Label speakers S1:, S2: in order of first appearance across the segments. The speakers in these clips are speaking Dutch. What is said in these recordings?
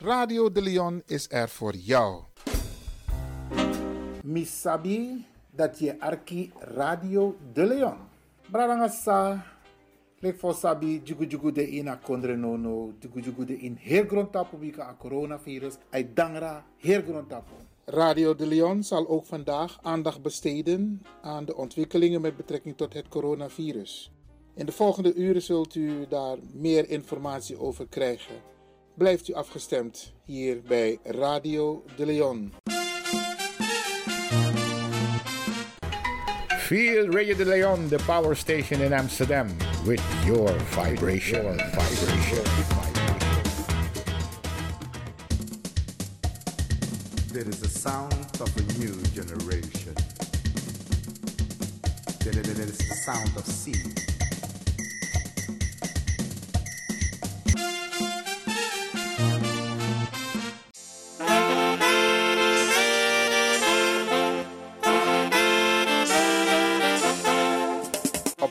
S1: Radio de Leon is er voor jou.
S2: misabi dat je arki Radio De Leon. Braranga sa lek fo sabi jugu jugu de in a kondre nono, jugu jugu de in her gronta publika a coronavirus, ay dangra her gronta po.
S1: Radio de Leon zal ook vandaag aandacht besteden aan de ontwikkelingen met betrekking tot het coronavirus. In de volgende uren zult u daar meer informatie over krijgen. Blijft u afgestemd hier bij Radio de Leon.
S3: Feel Radio de Leon, the power station in Amsterdam, with your vibration. vibration.
S4: There is a sound of a new generation. There there- there is the sound of sea.
S1: Op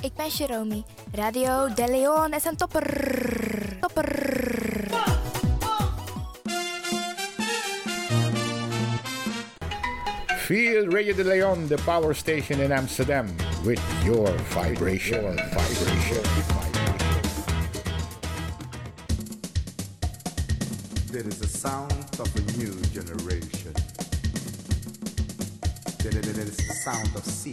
S5: Ik ben Jerome. Radio De Leon is een topper. Topper.
S3: Feel Radio de Leon, the power station in Amsterdam, with your vibration. vibration.
S4: There is a sound of a new generation. There there- there is the sound of sea.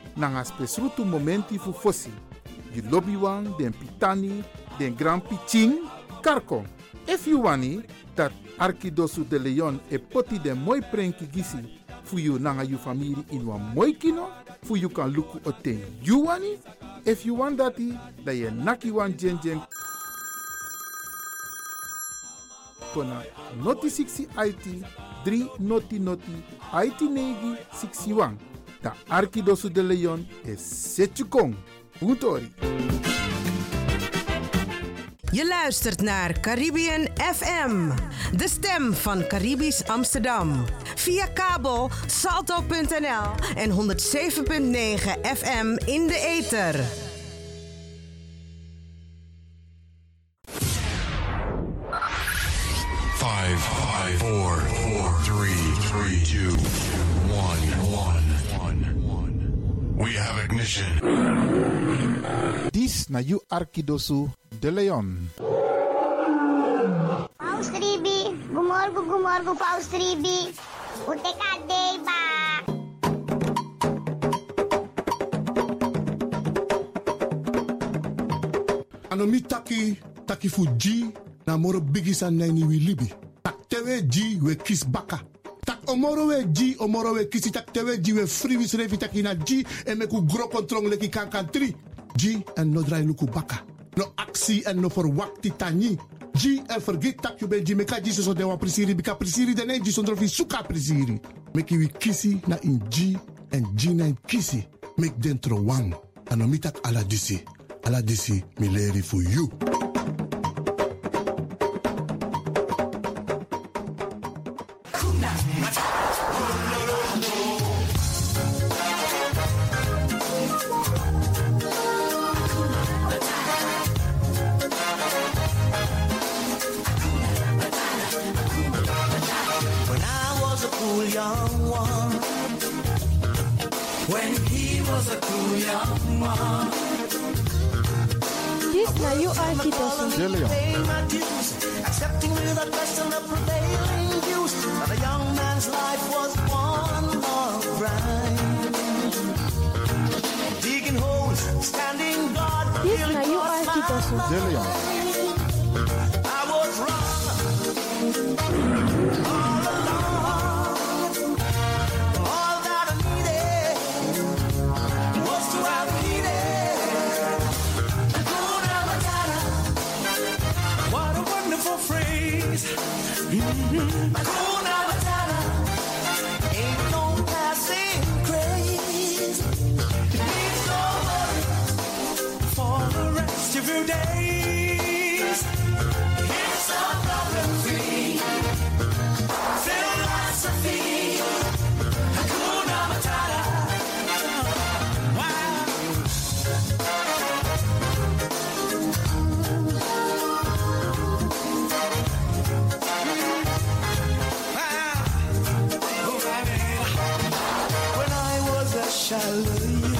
S1: nanga spesrutu momenti fu fosi. Di lobby wan, den pitani, den grand piching, karko. If you wani, dat Arkidosu de Leon e poti den moi prenki gisi fu you nanga you famiri in wan moi kino, fu you kan luku oten you wani. If you want dati, da ye naki wan jen jen kona noti 60 IT 3 noti noti IT negi 61. Da Arquidoso de Leon e Setchukong. Utori.
S6: Je luistert naar Caribbean FM, de stem van Caribisch Amsterdam. Via kabel salto.nl en 107.9 FM in de ether.
S7: Five, five, four, four, three, three, two, one, one, one, one. We have ignition.
S1: Di
S3: Precies, na you Arkidosu de Leon.
S5: Paus 3B. Gumorgo, gumorgo, Paus 3B. O ba?
S4: ano mi taki taki fu gi na moro bigi san naini wi libi tak tewe gi we kis baka tak omoro we gi omoro we kisi tak tewe gi we fri wi srevi taki na gi e meku gro kontrong leki kankan tri gi en no drai luku baka no aksi en no forwakti tani gi en forgit tak yu ben gi meka gi soso dewa prisiri bika prisiri dene gi sondro fi suka prisiri meki wi kisi na in gi en gi na in kisi mek dentro wang ano mi tak ala disi ala disi mi leri fu yu
S7: When I was a cool young one. When he was a cool young one.
S8: This na you Arkidosu.
S7: De Leon. Paying my dues, accepting with a question the prevailing views. But a young man's life was one long grind. Digging holes, standing guard.
S8: This na you Arkidosu.
S7: De I was wrong. All that I needed was to have needed. Hakuna Matata. What a wonderful phrase. Hakuna Matata. Ain't no passing craze. Leaves no worry for the rest of your days. It's a problem-free philosophy. Hakuna Matata. Wow. When I was a shallow you,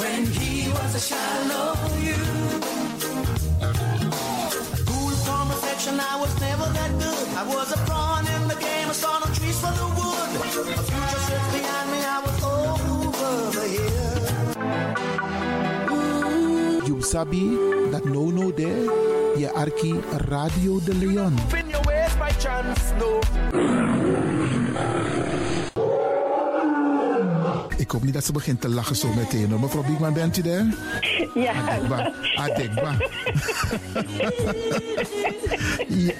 S7: when he was a shallow you, a cool conversation. I was never that good. I was a pawn in the game. I saw no trees for the wood. A future sits behind me. I was over the hill.
S3: You sabi that no no there, je Arki Radio de Leon.
S7: Spin your ways by chance, no.
S3: Ik hoop niet dat ze begint te lachen zo meteen. hoor. Mevrouw Biekman, bent u daar? Adekba. Adekba. ja.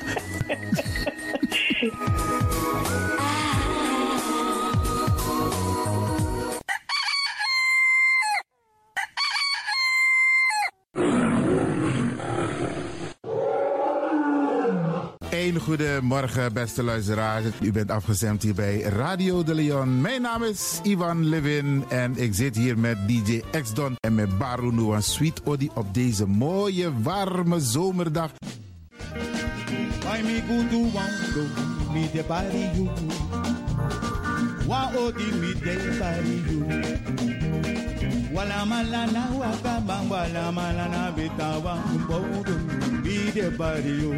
S3: Een goedemorgen, beste luisteraars. U bent afgestemd hier bij Radio de Leon. Mijn naam is Ivan Levin en ik zit hier met DJ X-Don en met Baru Nuan Sweet Odi op deze mooie, warme zomerdag.
S9: Why me go to one go me the body you Wa odi me the body you Wala malana wa kaba wala malana bitawa mbodo me the body you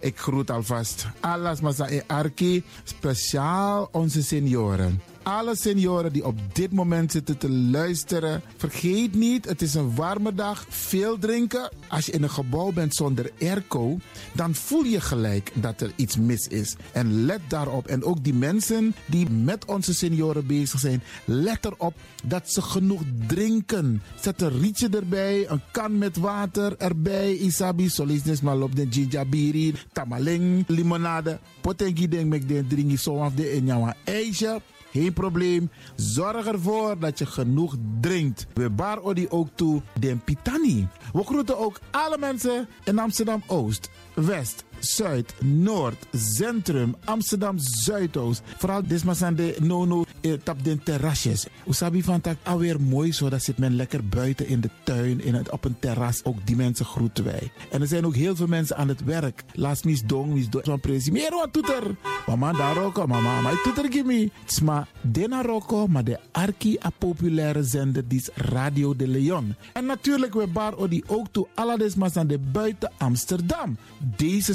S3: Ik groet alvast alles masa e arki, speciaal onze senioren. Alle senioren die op dit moment zitten te luisteren, vergeet niet, het is een warme dag, veel drinken. Als je in een gebouw bent zonder airco, dan voel je gelijk dat er iets mis is. En let daarop. En ook die mensen die met onze senioren bezig zijn, let erop dat ze genoeg drinken. Zet een rietje erbij, een kan met water erbij, isabi, solisnes, malop, den jinjabiri, tamaling, limonade. Potengi denk ik den dringi zo af de enjawa ijsje. Geen probleem. Zorg ervoor dat je genoeg drinkt. We bar odi ook toe den pitani. We groeten ook alle mensen in Amsterdam Oost, West,
S7: Zuid, Noord, Centrum, Amsterdam Zuidoost. Vooral desma zijn de nono eh, tap den terrasjes. Usabi van tak alweer mooi zo, dat zit men lekker buiten in de tuin, in het, op een terras. Ook die mensen groeten wij. En er zijn ook heel veel mensen aan het werk. Laatst mis dong, mis dong, van presi. Meer wat toeter. Mama daar roko, mama, maar toeter gimme. Tsma, dena roko, maar de arki a populaire zender, die is Radio de Leon. En natuurlijk, we baar die ook toe Aladesmas aan de buiten Amsterdam. Deze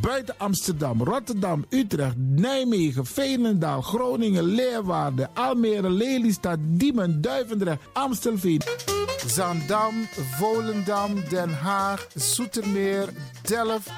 S7: Buiten Amsterdam, Rotterdam, Utrecht, Nijmegen, Veenendaal, Groningen, Leeuwarden, Almere, Lelystad, Diemen, Duivendrecht, Amstelveen.
S1: Zandam, Volendam, Den Haag, Zoetermeer, Delft,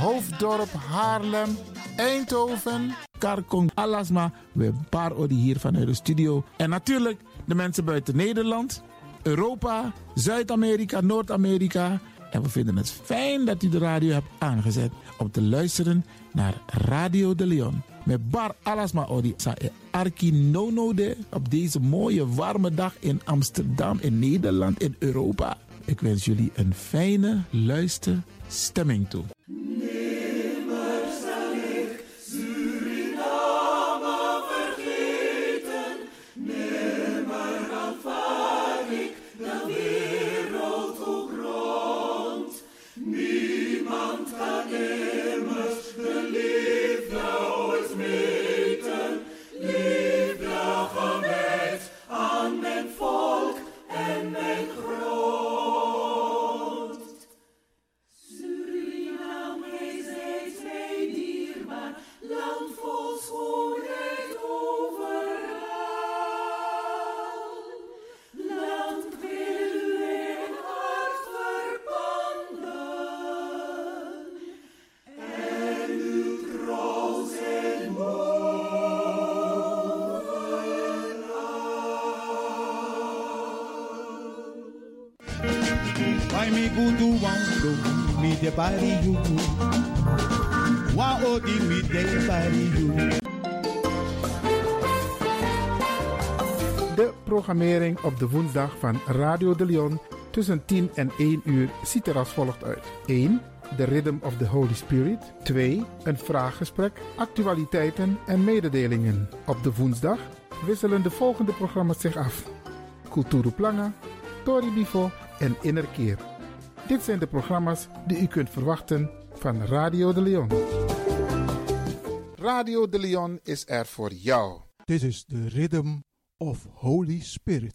S1: Hoofddorp, Haarlem, Eindhoven.
S7: Karkong, Alasma. We hebben een paar orde hier vanuit de studio. En natuurlijk de mensen buiten Nederland, Europa, Zuid-Amerika, Noord-Amerika. En we vinden het fijn dat u de radio hebt aangezet om te luisteren naar Radio de Leon. Met Bar Alasma Odi sa e Arki Nono de op deze mooie warme dag in Amsterdam, in Nederland, in Europa. Ik wens jullie een fijne luisterstemming toe.
S4: Why me go to one go me the body you Why odi me the body you
S1: De programmering op de woensdag van Radio de Leon tussen 10 en 1 uur ziet er als volgt uit. 1. De Rhythm of the Holy Spirit. 2. Een vraaggesprek, actualiteiten en mededelingen. Op de woensdag wisselen de volgende programma's zich af. Kulturu Planga, Tori Bifo en Innerkeer. Dit zijn de programma's die u kunt verwachten van Radio de Leon.
S10: Radio de Leon is er voor jou.
S11: Dit is de Rhythm of Holy Spirit.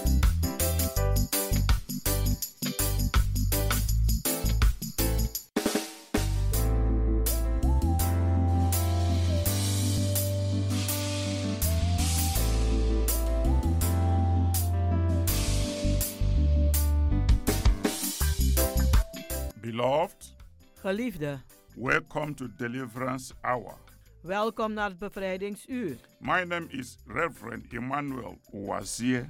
S12: Beloved,
S6: Geliefde,
S12: welcome to Deliverance Hour.
S6: welkom naar het bevrijdingsuur.
S12: My name is Reverend Emmanuel Ouazier,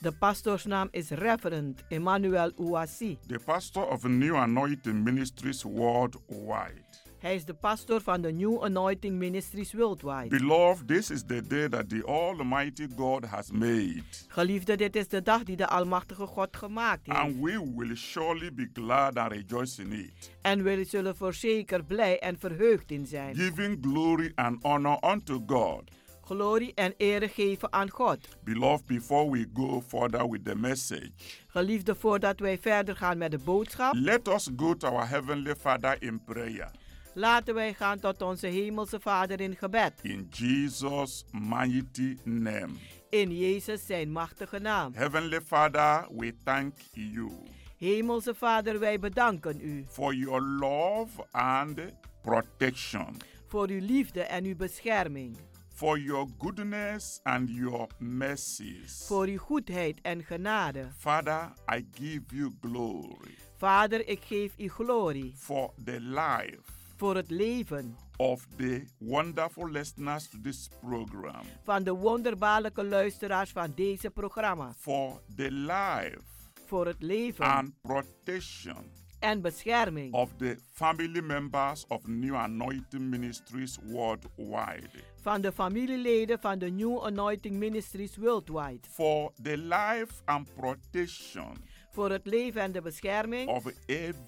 S6: De pastoorsnaam is Reverend Emmanuel Ouassi.
S12: the pastor of New Anointing Ministries worldwide.
S6: Hij is de pastoor van de New Anointing Ministries Worldwide.
S12: Beloved, this is the day that the Almighty God has made,
S6: Geliefde, dit is de dag die de Almachtige God gemaakt heeft.
S12: and we will surely be glad and rejoice in it,
S6: En we zullen voorzeker blij en verheugd in zijn.
S12: giving glory and honor unto God.
S6: Glorie en ere geven aan God.
S12: Beloved, before we go further with the message,
S6: Geliefde, voordat wij verder gaan met de boodschap,
S12: let us go to our Heavenly Father in prayer.
S6: laten wij gaan tot onze Hemelse Vader in gebed.
S12: In Jesus' mighty name.
S8: in Jezus zijn machtige naam.
S7: Heavenly Father, we thank you
S8: Hemelse Vader, wij bedanken u
S7: for your love and protection,
S8: voor uw liefde en uw bescherming,
S7: for your goodness and your mercies.
S8: voor uw goedheid en genade.
S7: Father, I give you glory
S8: Vader, ik geef u glorie
S7: for the life
S8: voor het leven
S7: of the wonderful listeners to this program,
S8: van de wonderbaarlijke luisteraars van deze programma,
S7: for the life
S8: voor het leven
S7: and protection
S8: en bescherming
S7: of the family members of New Anointing Ministries worldwide,
S8: van de familieleden van de New Anointing Ministries Worldwide,
S7: for the life and protection
S8: voor het leven en de bescherming
S7: of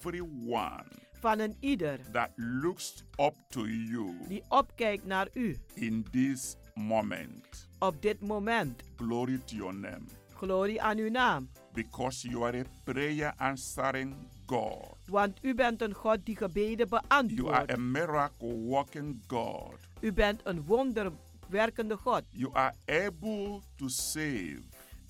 S7: everyone
S8: van een ieder
S7: that looks up to you
S8: die opkijkt naar u
S7: in this moment.
S8: op dit moment.
S7: Glory to your name,
S8: Glorie aan uw naam,
S7: because you are a prayer answering God.
S8: want u bent een God die gebeden
S7: You are
S8: beantwoordt.
S7: a miracle working God.
S8: U bent een wonderwerkende God.
S7: You are able to save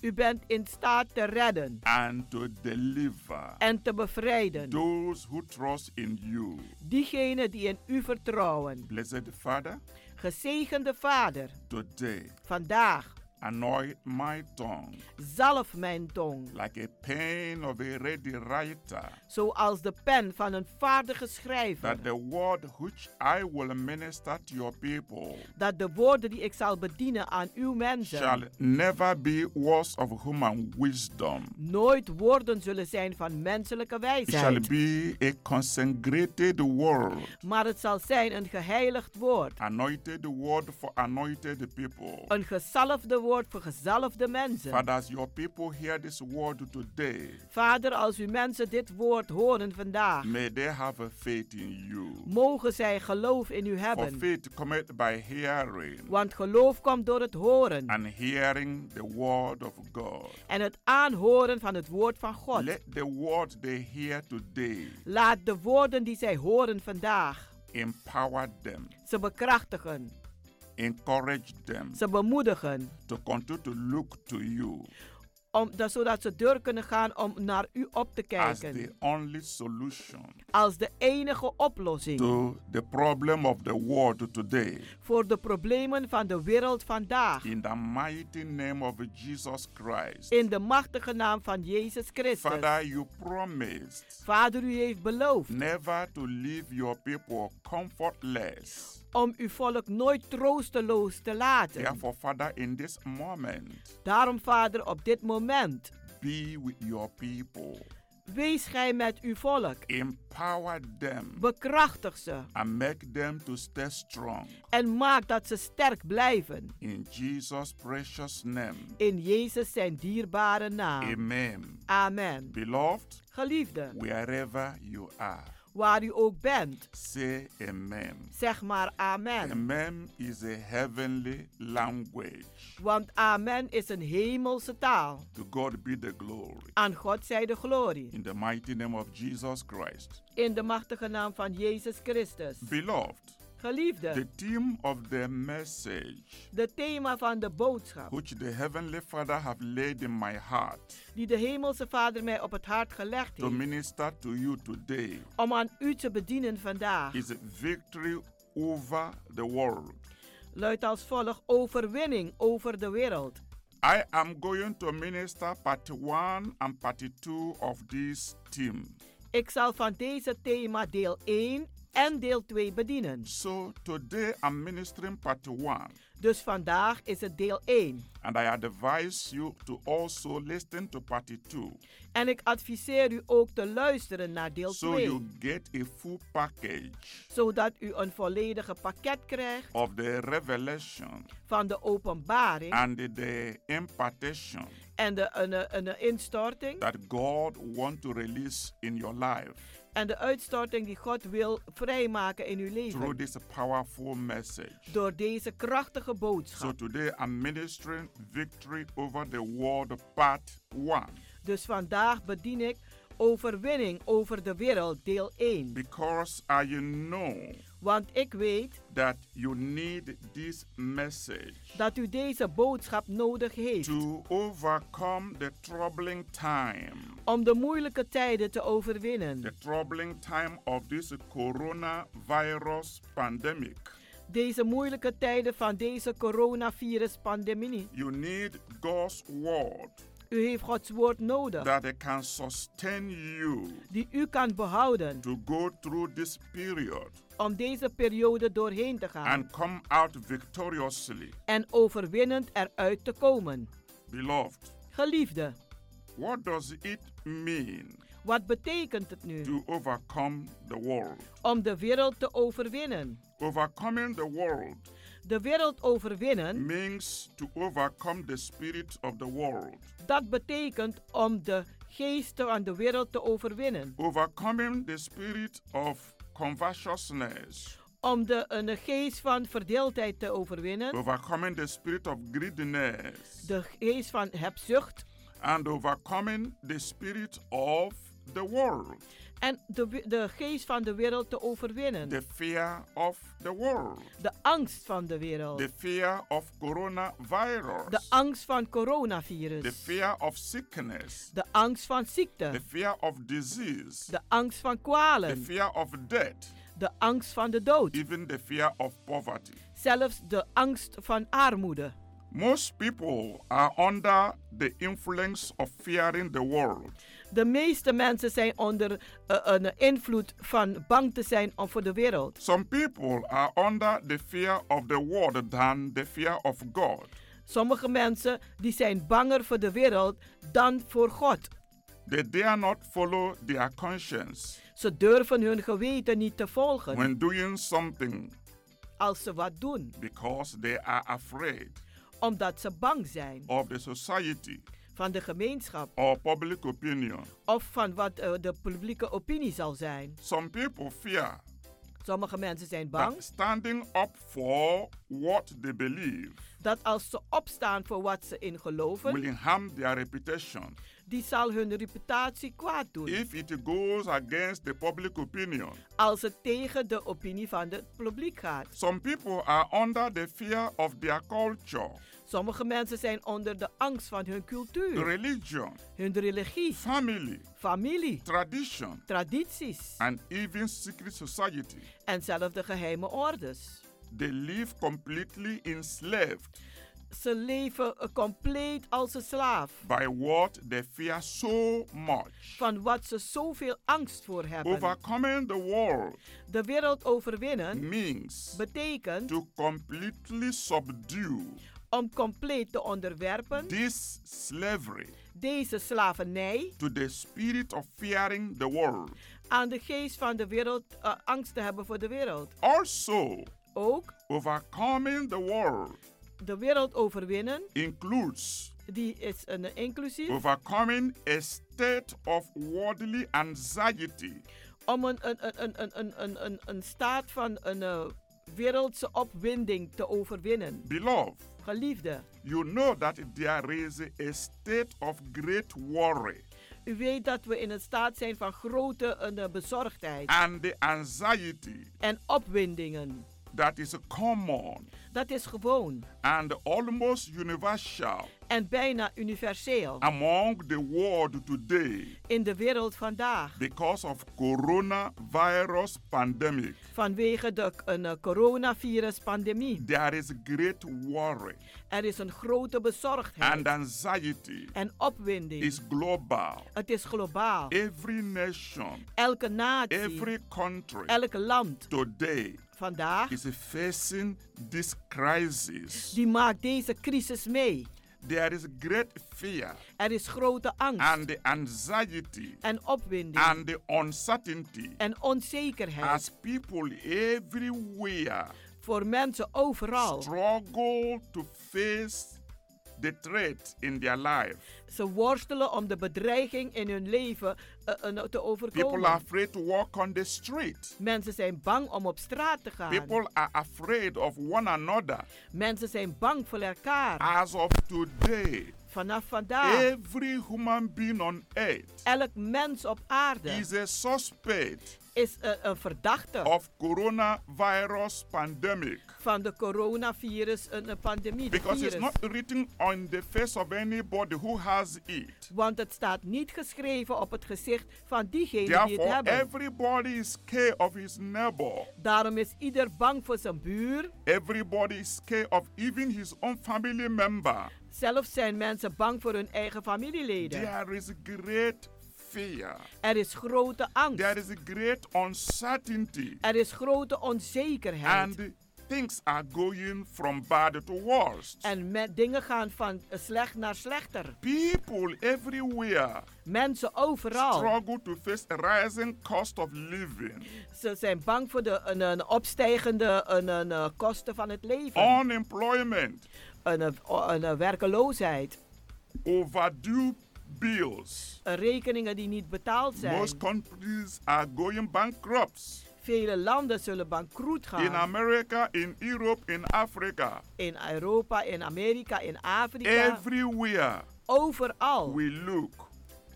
S8: U bent in staat te redden
S7: and to deliver
S8: en te bevrijden
S7: those who trust in you.
S8: diegenen die in u vertrouwen.
S7: Blessed Father,
S8: Gezegende Vader,
S7: today
S8: vandaag
S7: anoint my tongue
S8: zalf mijn tong,
S7: like a pen of a ready writer,
S8: zoals de pen van een vaardige schrijver,
S7: that the word which I will minister to your people
S8: dat de woorden die ik zal bedienen aan uw
S7: shall
S8: mensen
S7: never be words of human wisdom.
S8: nooit woorden zullen zijn van menselijke
S7: It shall
S8: wijsheid,
S7: be a consecrated word,
S8: maar het zal zijn een geheiligd woord,
S7: anointed word for anointed people.
S8: een gezalfde woord voor gezalfde mensen.
S7: Father, as your people hear this word today,
S8: Vader, als uw mensen dit woord horen vandaag,
S7: may they have a faith in you.
S8: mogen zij geloof in u
S7: For
S8: hebben.
S7: faith cometh by hearing,
S8: Want geloof komt door het horen
S7: and hearing the word of God.
S8: en het aanhoren van het woord van God.
S7: Let the word they hear today
S8: Laat de woorden die zij horen vandaag
S7: empower them,
S8: ze bekrachtigen,
S7: encourage them
S8: ze bemoedigen,
S7: to continue to look to you
S8: om, dat, zodat ze door kunnen gaan om naar u op te
S7: as the
S8: kijken
S7: only solution
S8: als de enige oplossing
S7: to the problem of the world today.
S8: voor de problemen van de wereld vandaag.
S7: In the mighty name of Jesus Christ.
S8: In de machtige naam van Jezus Christus.
S7: Father, you promised
S8: Vader, u heeft beloofd
S7: never to leave your people comfortless.
S8: om uw volk nooit troosteloos te laten.
S7: Therefore, Father, in this moment,
S8: Daarom, Vader, op dit moment,
S7: be with your people.
S8: wees gij met uw volk.
S7: Empower them
S8: Bekrachtig ze
S7: and make them to stay strong.
S8: en maak dat ze sterk blijven.
S7: In Jesus' precious name.
S8: In Jezus zijn dierbare naam.
S7: Amen.
S8: Amen.
S7: Beloved,
S8: Geliefde,
S7: wherever you are,
S8: waar u ook bent,
S7: say amen.
S8: zeg maar amen.
S7: Amen is a heavenly language.
S8: Want amen is een hemelse taal.
S7: To God be the glory.
S8: Aan God zij de glorie.
S7: In the mighty name of Jesus Christ.
S8: In de machtige naam van Jezus Christus.
S7: Beloved, the
S8: Geliefde,
S7: theme of the message
S8: de thema van de boodschap
S7: which the heavenly father have laid in my heart
S8: die de hemelse Vader mij op het hart gelegd
S7: to
S8: heeft
S7: minister to you today
S8: om aan u te bedienen vandaag,
S7: is victory over the world.
S8: luidt als volgt overwinning over de wereld.
S7: I am going to minister part 1 and part 2 of this theme.
S8: Ik zal van deze thema deel 1 en deel 2 bedienen.
S7: So today I'm ministering part 1
S8: Dus vandaag is het deel 1.
S7: and I advise you to also listen to part 2
S8: En ik adviseer u ook te luisteren naar deel
S7: so
S8: 2,
S7: you get a full package
S8: zodat u een volledige pakket krijgt
S7: of the revelation Ah.
S8: van de openbaring
S7: and the impartation
S8: en de een, eh, een, eh, instorting
S7: that God want to release in your life
S8: en de uitstorting die God wil vrijmaken in uw
S7: through
S8: leven
S7: this powerful message.
S8: door deze krachtige
S7: So
S8: boodschap.
S7: today I'm ministering victory over the world part 1
S8: Dus vandaag bedien ik overwinning over de wereld deel 1,
S7: because I know
S8: Want ik weet
S7: that you need this message
S8: dat u deze boodschap nodig heeft
S7: to overcome the troubling time,
S8: om de moeilijke tijden te overwinnen.
S7: the troubling time of this coronavirus pandemic.
S8: Deze moeilijke tijden van deze coronavirus-pandemie.
S7: You need God's word
S8: U heeft Gods woord nodig
S7: that it can sustain you
S8: die u kan behouden
S7: to go through this period
S8: om deze periode doorheen te gaan
S7: and come out victoriously.
S8: en overwinnend eruit te komen.
S7: Beloved,
S8: Geliefde,
S7: what does it mean
S8: wat betekent het nu
S7: to overcome the world?
S8: om de wereld te overwinnen?
S7: Overcoming the world
S8: De wereld overwinnen,
S7: means to overcome the spirit of the world.
S8: dat betekent om de geesten van de wereld te overwinnen.
S7: Overcoming the spirit of covetousness.
S8: Om de, een geest van verdeeldheid te overwinnen,
S7: Overcoming the spirit of greediness.
S8: de geest van hebzucht
S7: And overcoming the spirit of the world.
S8: en de, we- de geest van de wereld te overwinnen.
S7: The fear of the world.
S8: De angst van de wereld.
S7: The fear of coronavirus.
S8: De angst van coronavirus.
S7: The fear of sickness.
S8: De angst van
S7: The
S8: ziekte.
S7: fear of disease.
S8: De angst van
S7: The
S8: kwalen.
S7: fear of death.
S8: De angst van de dood.
S7: Even the fear of poverty.
S8: Zelfs de angst van armoede.
S7: Most people are under the influence of fearing the world.
S8: De meeste mensen zijn onder eh, een invloed van bang te zijn om voor de wereld.
S7: Some people are under the fear of the world than the fear of God.
S8: Sommige mensen die zijn banger voor de wereld dan voor God.
S7: They dare not follow their conscience
S8: Ze durven hun geweten niet te volgen
S7: when doing something
S8: als ze wat doen,
S7: because they are afraid
S8: omdat ze bang zijn
S7: of the society
S8: van de gemeenschap
S7: or public opinion.
S8: of van wat eh, de publieke opinie zal zijn.
S7: Some people fear
S8: Sommige mensen zijn bang
S7: that standing up for what they believe
S8: dat als ze opstaan voor wat ze in geloven,
S7: will harm their reputation
S8: die zal hun reputatie kwaad doen.
S7: if it goes against the public opinion.
S8: Als het tegen de opinie van het publiek gaat.
S7: Some people are under the fear of their culture,
S8: Sommige mensen zijn onder de angst van hun cultuur,
S7: religion,
S8: hun religie,
S7: family,
S8: familie,
S7: tradition,
S8: tradities
S7: and even secret society.
S8: en zelfs de geheime orders.
S7: They live completely enslaved
S8: Ze leven eh, compleet als een slaaf
S7: by what they fear so much.
S8: van wat ze zoveel angst voor hebben.
S7: Overcoming the world
S8: De wereld overwinnen
S7: means
S8: betekent
S7: to completely subdue
S8: om compleet te onderwerpen
S7: this slavery
S8: deze slavernij
S7: to the spirit of fearing the world.
S8: aan de geest van de wereld, eh, angst te hebben voor de wereld.
S7: Also,
S8: Ook
S7: overcoming the world
S8: de wereld overwinnen,
S7: includes
S8: die is een inclusief,
S7: overcoming a state of worldly anxiety
S8: om een, een, een, een, een, een, een, een, een staat van een eh, wereldse opwinding te overwinnen.
S7: Beloved,
S8: Geliefde,
S7: you know that there is a state of great worry
S8: u weet dat we in een staat zijn van grote eh, bezorgdheid
S7: and the anxiety
S8: en opwindingen.
S7: that is common
S8: Dat is gewoon
S7: and almost universal
S8: en bijna universeel
S7: among the world today
S8: in de wereld vandaag
S7: because of coronavirus pandemic.
S8: vanwege de eh, een, eh, coronavirus-pandemie.
S7: There is great worry
S8: Er is een grote bezorgdheid
S7: and anxiety
S8: en opwinding.
S7: is global.
S8: het is globaal.
S7: Every nation,
S8: Elke natie,
S7: every country
S8: elk land
S7: today
S8: vandaag,
S7: is facing this crisis.
S8: die maakt deze crisis mee.
S7: There is great fear
S8: Er is grote angst
S7: and the anxiety
S8: en opwinding
S7: and the uncertainty
S8: en onzekerheid
S7: as people everywhere
S8: voor mensen overal.
S7: struggle to face the threat in their life.
S8: Ze worstelen om de bedreiging in hun leven eh, eh, te
S7: People are
S8: overkomen.
S7: afraid to walk on the street.
S8: Mensen zijn bang om op straat te gaan.
S7: People are afraid of one another. Ah.
S8: Mensen zijn bang voor elkaar.
S7: As of today,
S8: Vanaf vandaag,
S7: every human being on earth
S8: elk mens op aarde
S7: is a suspect
S8: is een, een verdachte
S7: of coronavirus pandemic
S8: van de coronavirus, dus een, een pandemie. de
S7: because it's
S8: virus.
S7: not written on the face of anybody who has it.
S8: Want het staat niet geschreven op het gezicht van diegenen die het
S7: Therefore,
S8: hebben.
S7: everybody is scared of his neighbor.
S8: Daarom is ieder bang voor zijn buur.
S7: Everybody is scared of even his own family member.
S8: Zelfs zijn mensen bang voor hun eigen familieleden.
S7: There is great fear.
S8: Er is grote angst.
S7: There is great uncertainty.
S8: Er is grote onzekerheid.
S7: And things are going from bad to worse.
S8: en met dingen gaan van slecht naar slechter.
S7: People everywhere
S8: Mensen overal.
S7: struggle to face a rising cost of living,
S8: Ze zijn bang voor de een, een opstijgende een, een, eh, kosten van het leven.
S7: unemployment,
S8: Een, eh, o- een, eh, werkeloosheid.
S7: overdue bills.
S8: Eh, Rekeningen die niet betaald zijn.
S7: Most countries are going bankrupt.
S8: Vele landen zullen bankroet
S7: In
S8: gaan.
S7: America, in Europe, in Africa,
S8: In Europa, in Amerika, in Afrika.
S7: everywhere
S8: Overal
S7: we look,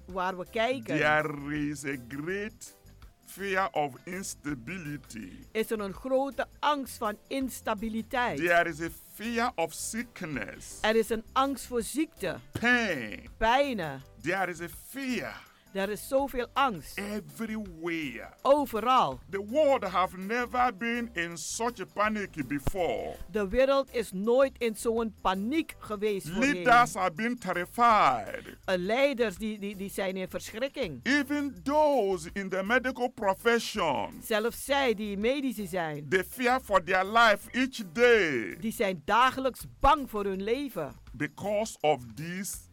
S8: waar we kijken
S7: there is a great fear of instability.
S8: is er een grote angst van instabiliteit.
S7: There is a fear of sickness,
S8: Er is een angst voor ziekte,
S7: pain.
S8: pijnen.
S7: There is a fear
S8: Er is zoveel angst.
S7: everywhere.
S8: Overal.
S7: The world have never been in such a panic before.
S8: De wereld is nooit in zo'n paniek geweest voorheen.
S7: Leaders have been terrified.
S8: Eh, Leiders die, die, die zijn in verschrikking.
S7: Even those in the medical profession,
S8: Zelfs zij die medici zijn,
S7: they fear for their life each day
S8: die zijn dagelijks bang voor hun leven.
S7: because of this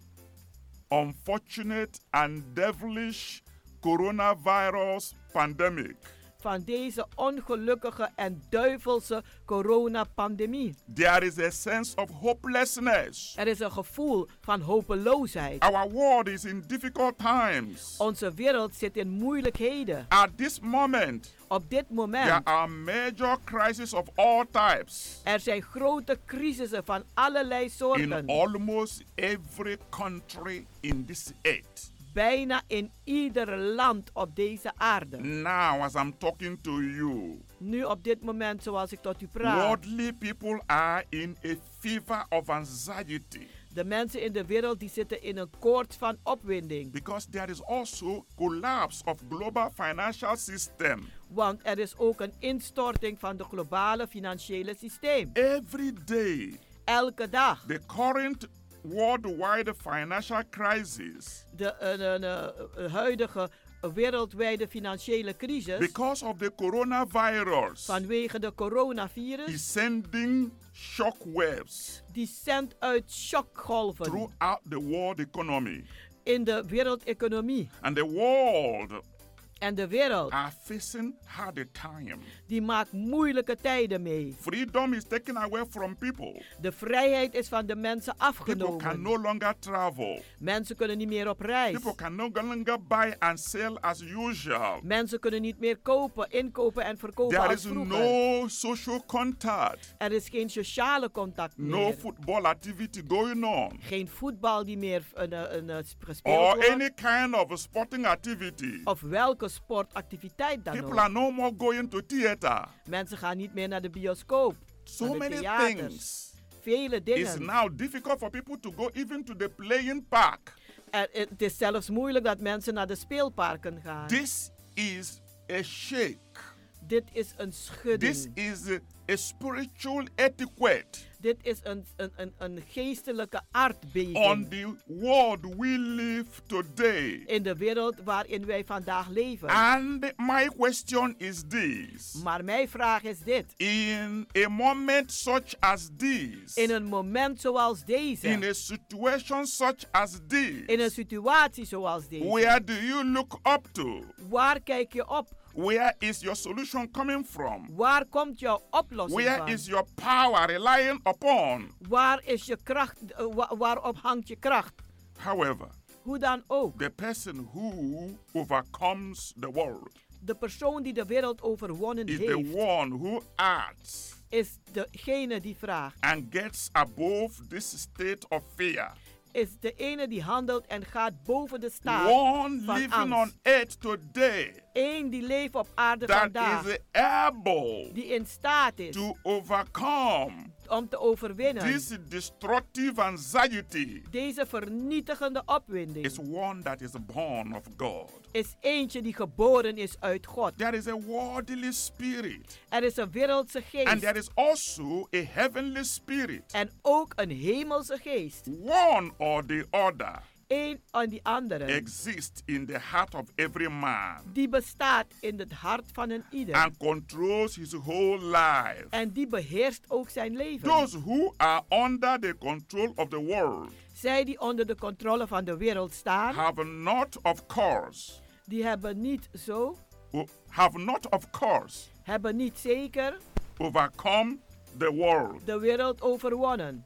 S7: unfortunate and devilish coronavirus pandemic.
S8: Van deze ongelukkige en duivelse coronapandemie.
S7: There is a sense of hopelessness.
S8: Er is een gevoel van hopeloosheid.
S7: Our world is in difficult times.
S8: Onze wereld zit in moeilijkheden.
S7: At this moment,
S8: Op dit
S7: there
S8: moment,
S7: are major crises of all types
S8: er zijn grote crisissen van allerlei
S7: in
S8: soorten.
S7: almost every country in this earth.
S8: Bijna in ieder land op deze aarde.
S7: Now, as I'm talking to you,
S8: Nu op dit moment, zoals ik tot u praat,
S7: worldly people are in a fever of anxiety
S8: de mensen in de wereld die zitten in een koorts van opwinding.
S7: because there is also collapse of global financial system.
S8: Want er is ook een instorting van de globale financiële systeem.
S7: Every day,
S8: Elke dag.
S7: the current worldwide financial crisis,
S8: De eh, eh, eh, huidige wereldwijde financiële crisis
S7: because of the coronavirus,
S8: vanwege de coronavirus,
S7: is sending shockwaves
S8: die zendt uit shockgolven
S7: throughout the world economy.
S8: in de wereldeconomie.
S7: And the world
S8: En de wereld,
S7: are facing hard time.
S8: die maakt moeilijke tijden mee.
S7: Freedom is taken away from people.
S8: De vrijheid is van de mensen
S7: People can
S8: afgenomen.
S7: no longer travel.
S8: Mensen kunnen niet meer op reis.
S7: People can no longer buy and sell as usual.
S8: Mensen kunnen niet meer kopen, inkopen en verkopen
S7: There
S8: als
S7: is
S8: vroeger.
S7: no social contact,
S8: Er is geen sociale contact meer.
S7: no football activity going on,
S8: geen voetbal die meer eh, eh, eh, gespeeld
S7: or
S8: wordt.
S7: any kind of sporting activity.
S8: Of welke sportactiviteit dan
S7: People
S8: ook.
S7: are no more going to theater.
S8: Mensen gaan niet meer naar de bioscoop.
S7: So
S8: naar de
S7: many
S8: theaters.
S7: things.
S8: Vele
S7: It's
S8: dingen.
S7: now difficult for people to go even to the playing park.
S8: Er- eh, het is zelfs moeilijk dat mensen naar de speelparken gaan.
S7: This is a shake.
S8: Dit is een schudding.
S7: This is a spiritual etiquette
S8: Dit is een, een, een, een geestelijke
S7: on
S8: aardbeving.
S7: the world we live today.
S8: In de wereld waarin wij vandaag leven.
S7: And my question is this
S8: Maar mijn vraag is dit.
S7: In a moment such as this,
S8: In een moment zoals deze.
S7: in a situation such as this,
S8: in een situatie zoals deze.
S7: where do you look up to?
S8: Waar kijk je op?
S7: Where is your solution coming from?
S8: Waar komt jouw oplossing
S7: Where
S8: van?
S7: is your power relying upon?
S8: Waar is je kracht? eh, wa- waarop hangt je kracht?
S7: However,
S8: Hoe dan ook.
S7: the person who overcomes the world
S8: De persoon die de wereld overwonnen
S7: is the
S8: heeft,
S7: one who acts
S8: is degene die vraagt.
S7: and gets above this state of fear
S8: is de ene die handelt en gaat boven de staat
S7: One
S8: van
S7: living on
S8: angst.
S7: earth today
S8: Eén die leeft op aarde
S7: that
S8: vandaag,
S7: is able
S8: die in staat is
S7: to overcome
S8: om te overwinnen.
S7: this destructive anxiety
S8: Deze vernietigende opwinding
S7: is one that is born of God.
S8: is eentje die geboren is uit God.
S7: There is a worldly spirit,
S8: Er is een wereldse
S7: and there
S8: geest
S7: is also a heavenly spirit.
S8: en ook een hemelse geest.
S7: One or the other
S8: Eén aan die andere.
S7: exists in the heart of every man
S8: Die bestaat in het hart van een ieder.
S7: and controls his whole life.
S8: En die beheerst ook zijn leven.
S7: Those who are under the control of the world
S8: Zij die onder de controle van de wereld staan,
S7: have not, of course,
S8: die hebben niet zo,
S7: have not, of course,
S8: hebben niet zeker
S7: overcome the world.
S8: de wereld overwonnen.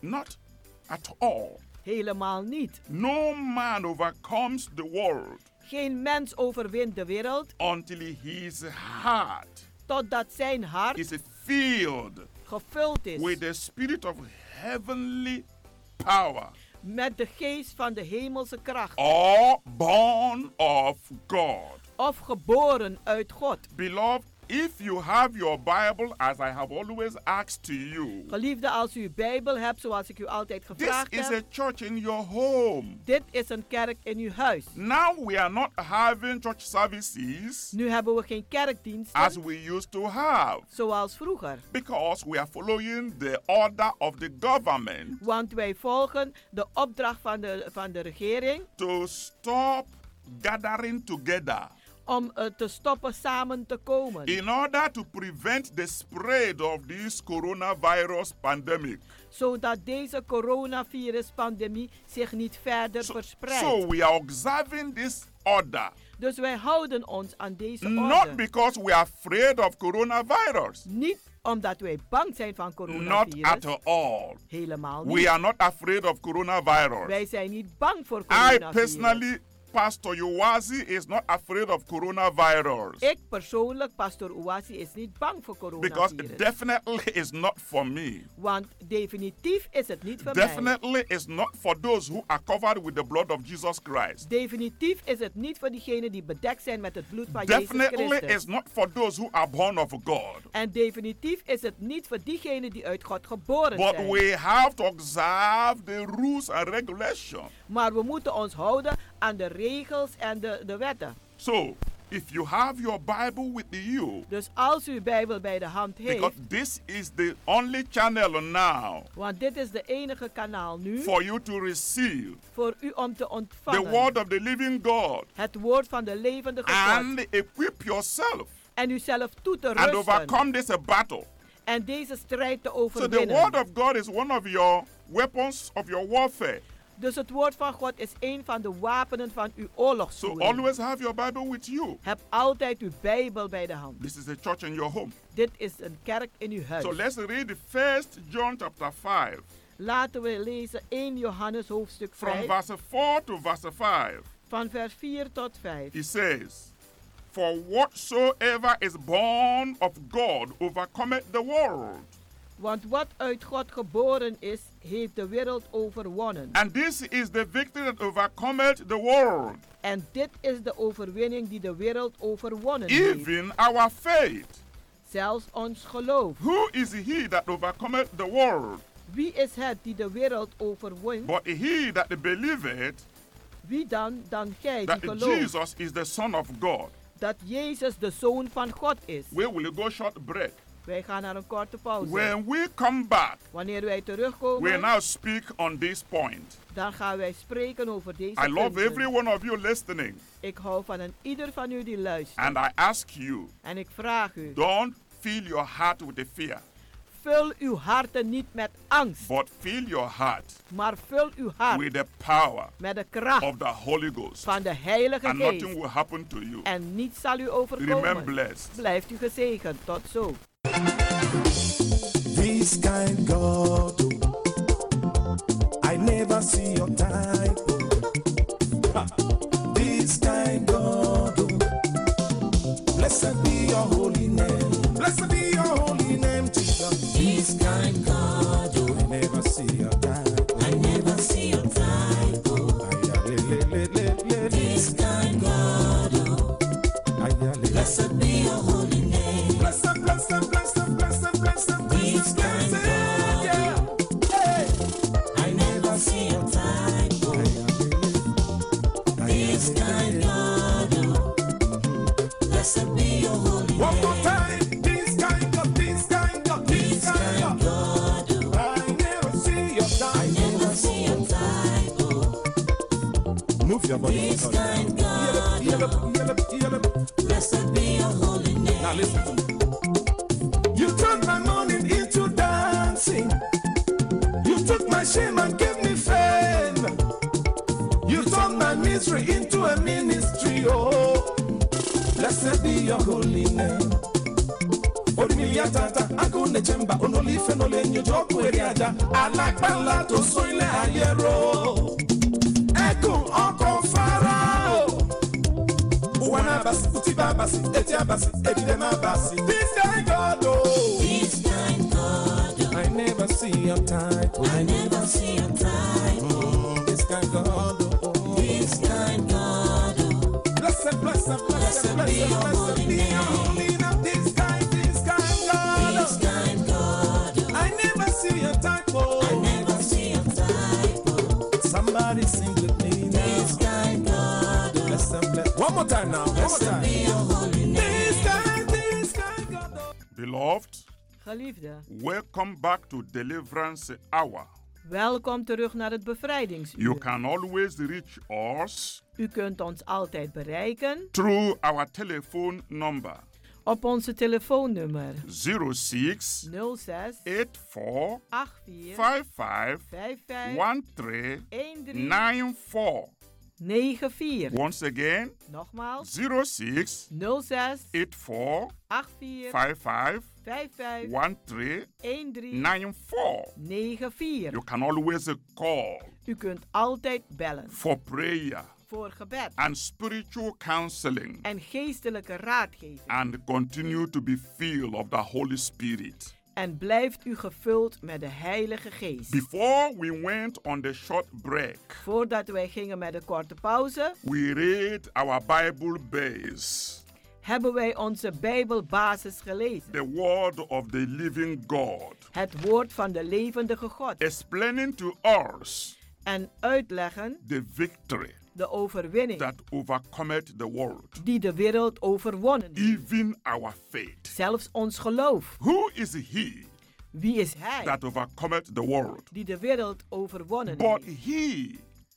S7: Not at all.
S8: Helemaal niet.
S7: No man overcomes the world
S8: Geen mens overwint de wereld
S7: until his heart
S8: totdat zijn hart
S7: is filled
S8: gevuld
S7: with
S8: is
S7: the spirit of heavenly power
S8: met de geest van de hemelse kracht.
S7: or born of God.
S8: Of geboren uit God.
S7: Beloved, if you have your Bible, as I have always asked to you,
S8: Geliefde, als u uw Bijbel hebt, zoals ik u altijd
S7: this
S8: gevraagd
S7: is
S8: heb,
S7: a church in your home.
S8: dit is een kerk in uw huis.
S7: Now we are not having church services
S8: Nu hebben we geen kerkdiensten
S7: as we used to have
S8: zoals vroeger,
S7: because we are following the order of the government
S8: want wij volgen de opdracht van de, van de regering
S7: to stop gathering together
S8: om eh, te stoppen samen te komen.
S7: in order to prevent the spread of this coronavirus pandemic.
S8: zodat deze coronavirus-pandemie zich niet verder verspreidt.
S7: So we are observing this order
S8: dus wij houden ons aan deze orde.
S7: not because we are afraid of coronavirus,
S8: niet omdat wij bang zijn van
S7: not
S8: coronavirus.
S7: at all.
S8: Helemaal niet.
S7: We are not afraid of coronavirus.
S8: wij zijn niet bang voor
S7: I
S8: coronavirus.
S7: personally, Pastor Yowazi, is not afraid of coronavirus
S8: Ik persoonlijk, pastor Ouassi, is niet bang voor
S7: because
S8: coronavirus.
S7: it definitely is not for me.
S8: want definitief is het niet voor mij.
S7: Definitely is not for those who are covered with the blood of Jesus Christ.
S8: Definitief is het niet voor diegenen die bedekt zijn met het bloed van Jezus
S7: Definitely
S8: Christus.
S7: is not for those who are born of God.
S8: En definitief is het niet voor diegenen die uit God geboren
S7: But
S8: zijn.
S7: we have to observe the rules and regulations.
S8: Maar we moeten ons houden aan de regels en de, de wetten.
S7: So, if you have your Bible with you,
S8: Dus als u uw Bijbel bij de hand
S7: because
S8: heeft,
S7: this is the only channel now
S8: want dit is de enige kanaal nu
S7: for you to receive
S8: voor u om te
S7: the
S8: ontvangen
S7: word of the living God
S8: het woord van de levende God.
S7: and equip yourself
S8: En uzelf toe te
S7: and
S8: rusten
S7: overcome this battle.
S8: en deze strijd te
S7: So, the word
S8: overwinnen.
S7: of God is one of your weapons of your warfare.
S8: Dus het woord van God is een van de wapenen van uw
S7: So,
S8: oorlogsvoering.
S7: always have your Bible with you.
S8: Heb altijd uw Bijbel bij de hand.
S7: This is a church in your home.
S8: Dit is een kerk in uw
S7: So
S8: huis.
S7: let's read the first John chapter 5
S8: Laten we lezen 1 Johannes hoofdstuk
S7: from
S8: 5
S7: verse 4 to verse 5.
S8: van vers 4 tot 5.
S7: He says, For whatsoever is born of God overcometh the world.
S8: Want wat uit God geboren is, heeft de wereld overwonnen.
S7: And this is the victory that overcometh the world,
S8: En dit is de overwinning die de wereld overwonnen heeft.
S7: even our faith.
S8: Zelfs ons geloof.
S7: Who is he that overcometh the world?
S8: Wie is het die de wereld overwint?
S7: But he that believeth
S8: Wie dan dan gij die
S7: that
S8: gelooft
S7: Jesus is the Son of God.
S8: dat Jezus de Zoon van God is?
S7: We will go short break.
S8: Wij gaan naar een korte pauze.
S7: When we come back,
S8: Wanneer wij
S7: we
S8: terugkomen,
S7: now speak on this point.
S8: dan gaan wij spreken over deze
S7: I love
S8: punten.
S7: every one of you listening,
S8: Ik hou van een ieder van u die luistert.
S7: and I ask you
S8: En ik vraag u,
S7: don't fill your heart with the fear,
S8: vul uw harten niet met angst,
S7: but fill your heart
S8: maar vul uw hart
S7: with the power
S8: met de kracht
S7: of the Holy Ghost,
S8: van de Heilige
S7: and nothing
S8: Geest.
S7: will happen to you.
S8: En niets zal u overkomen.
S7: Remain blessed.
S8: Blijft u gezegend. Tot zo.
S4: This kind God, oh, I never see your type. oh. Ha. This kind God, oh, blessed be your holy name. Blessed be your holy name, Jesus. This kind God, oh, I never see your type. oh. I never see your oh. lift your voice.
S13: This kind God. Blessed be your holy name.
S4: Now listen to me. You turned my morning into dancing. You took my shame and gave me fame. You turned my misery into a ministry. Oh, blessed be your holy name. Onílé tata, akóne jẹ́mbà, onólífẹ́ nólé nyojọ́ kúrẹ́ ajá, alágbálá tó sún ilé ayé ro. Ẹkùn ọkọ̀ fara o. Ụwa na-abasị, uti ba-abasị, eti abasị, ebide ma-abasị. This kind God o.
S13: This kind God. oh.
S4: I never see your type. o.
S13: I never see your type. oh.
S4: This kind oh. God o.
S13: This kind God. oh.
S4: Blessed, blessed, blessed, blessed, blessed be your holy name. This kind, this kind God
S13: This
S4: o.
S13: kind God. oh.
S4: I never see your type. oh. o.
S13: I never see your type.
S4: Somebody sing with me now.
S13: This kind God.
S4: Blessed, blessed. One more time now. One more time.
S13: Be your holy name.
S4: This kind, this kind God o.
S7: Beloved,
S8: Geliefde,
S7: welcome back to Deliverance Hour.
S8: welkom terug naar het
S7: You
S8: bevrijdingsuur.
S7: can always reach us
S8: U kunt ons altijd bereiken
S7: through our telephone number
S8: op onze telefoonnummer
S7: 06
S8: 06
S7: 84
S8: 84
S7: 55
S8: 55
S7: 13
S8: 13
S7: 94.
S8: 94.
S7: Once again,
S8: Nogmaals
S7: 06
S8: 06
S7: 84
S8: 84
S7: 55
S8: 55
S7: 13
S8: 13
S7: 94.
S8: 94.
S7: You can always call
S8: U kunt altijd bellen
S7: for prayer
S8: voor gebed
S7: and spiritual counseling
S8: en geestelijke raadgeving.
S7: and continue to be filled of the Holy Spirit.
S8: En blijft u gevuld met de Heilige Geest.
S7: Before we went on the short break,
S8: Voordat wij gingen met een korte pauze,
S7: we read our Bible base,
S8: hebben wij onze Bijbelbasis gelezen.
S7: the Word of the Living God,
S8: Het woord van de levendige God.
S7: explaining to us
S8: En uitleggen
S7: the victory
S8: de overwinning
S7: that overcometh the world,
S8: die de wereld overwonnen heeft.
S7: even our faith.
S8: Zelfs ons geloof.
S7: Who is He
S8: Wie is Hij
S7: that overcometh the world?
S8: die de wereld overwonnen
S7: But
S8: heeft?
S7: He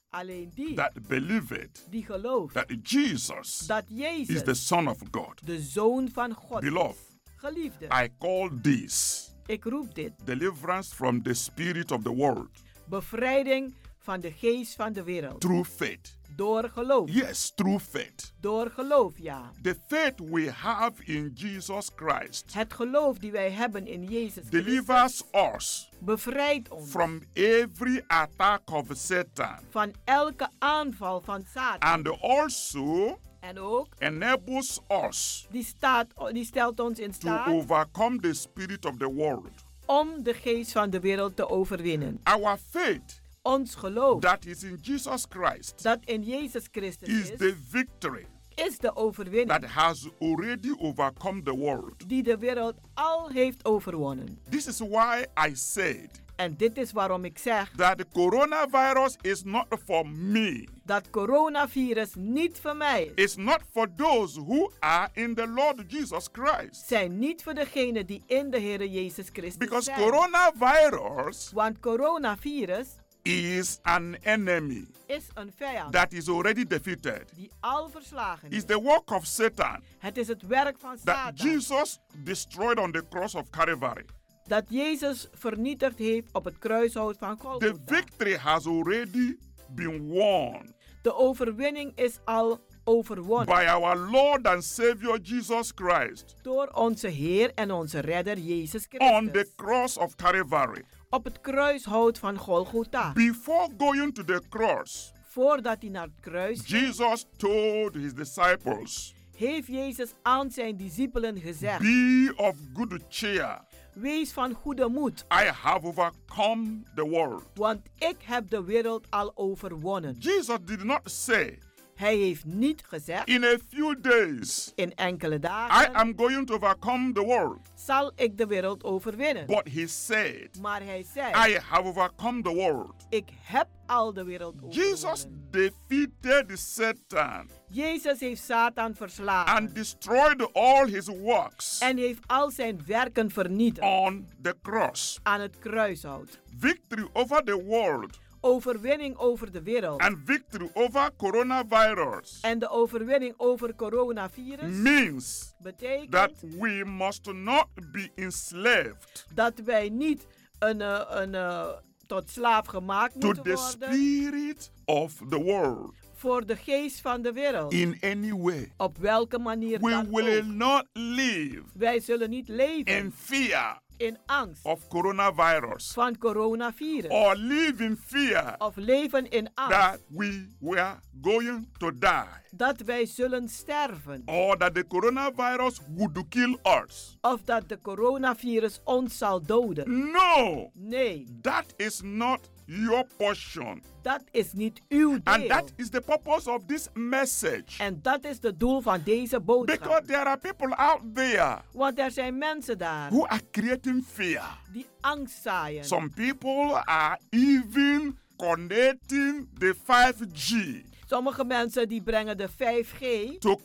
S8: Alleen die
S7: that believeth
S8: die gelooft
S7: that Jesus
S8: dat
S7: is the
S8: Jezus
S7: Son of God.
S8: de Zoon van God is.
S7: Beloved,
S8: Geliefde,
S7: I call this
S8: ik roep dit.
S7: deliverance from the spirit of the world
S8: Bevrijding van de geest van de wereld.
S7: through faith.
S8: Door geloof.
S7: Yes, through faith.
S8: Door geloof, ja.
S7: The faith we have in Jesus Christ
S8: Het geloof die wij hebben in Jezus Christus
S7: delivers us
S8: bevrijdt ons
S7: from every attack of Satan
S8: van elke aanval van Satan.
S7: and also
S8: En ook,
S7: enables us
S8: die, staat, die stelt ons in
S7: to
S8: staat
S7: overcome the spirit of the world.
S8: om de geest van de wereld te overwinnen.
S7: Our faith
S8: Ons geloof
S7: that is in Jesus Christ
S8: dat in Jezus Christus
S7: is
S8: is,
S7: the victory
S8: is de overwinning
S7: that has already overcome the world.
S8: die de wereld al heeft overwonnen.
S7: This is why I said
S8: En dit is waarom ik zeg
S7: that the coronavirus is not for me.
S8: dat coronavirus niet voor mij is.
S7: It's not for those who are in the Lord Jesus Christ.
S8: Zijn niet voor degenen die in de Heer Jezus Christus
S7: Because
S8: zijn.
S7: coronavirus
S8: Want coronavirus
S7: is an enemy
S8: is een vijand
S7: that is already defeated.
S8: die al verslagen is.
S7: It's the work of Satan
S8: Het is het werk van
S7: that
S8: Satan
S7: Jesus destroyed on the cross of Calvary.
S8: dat Jezus vernietigd heeft op het kruishout van
S7: The
S8: Golgotha.
S7: victory has already been won
S8: De overwinning is al overwonnen
S7: by our Lord and Savior Jesus Christ
S8: door onze Heer en onze Redder Jezus
S7: on the
S8: Christus
S7: cross of Calvary.
S8: op het kruishout van Golgotha.
S7: Before going to the cross,
S8: Voordat hij naar het kruis ging,
S7: Jesus told his disciples,
S8: heeft Jezus aan zijn discipelen gezegd:
S7: Be of good cheer.
S8: Wees van goede moed,
S7: I have overcome the world.
S8: want ik heb de wereld al overwonnen.
S7: Jesus did not say,
S8: Hij heeft niet gezegd:
S7: In a few days,
S8: In enkele
S7: I
S8: dagen
S7: am going to overcome the world.
S8: zal ik de wereld overwinnen.
S7: But he said,
S8: Maar hij zei:
S7: I have overcome the world.
S8: Ik heb al de wereld overwonnen.
S7: Jesus defeated Satan
S8: Jezus heeft Satan
S13: Ah.
S8: verslagen.
S7: and destroyed all his works
S8: en heeft al zijn werken vernietigd
S7: on the cross.
S8: aan het kruishout.
S7: Victory over the world
S8: overwinning over de wereld.
S7: and victory over coronavirus
S8: en de overwinning over coronavirus
S7: means
S8: betekent
S7: that we must not be enslaved
S8: dat wij niet een, eh, een, eh, tot slaaf gemaakt
S7: to
S8: moeten
S7: the
S8: worden
S7: spirit of the world
S8: voor de geest van de wereld.
S7: in any way.
S8: Op welke manier
S7: We
S8: dan
S7: will
S8: ook.
S7: not live
S8: Wij zullen niet leven
S7: in fear
S8: in angst
S7: of coronavirus
S8: van coronavirus.
S7: or live in fear
S8: of leven in angst
S7: that we were going to die
S8: dat wij zullen sterven.
S7: or that the coronavirus would kill us.
S8: Of dat de coronavirus ons zal doden.
S7: No,
S8: Nee,
S7: that is not your portion.
S8: dat is niet uw deel.
S7: And that is the purpose of this message.
S8: En dat is het doel van deze boodschap.
S7: Because there are people out there
S8: Want er zijn mensen daar
S7: who are creating fear.
S8: die angst zaaien.
S7: Some people are even connecting the 5G
S8: Sommige mensen die brengen de 5G
S7: to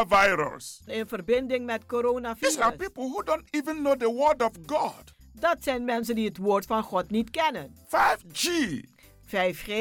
S7: coronavirus.
S8: in verbinding met
S7: These are
S8: coronavirus.
S7: people who don't even know the word of God.
S8: Dat zijn mensen die het woord van God niet kennen.
S7: 5G
S8: 5G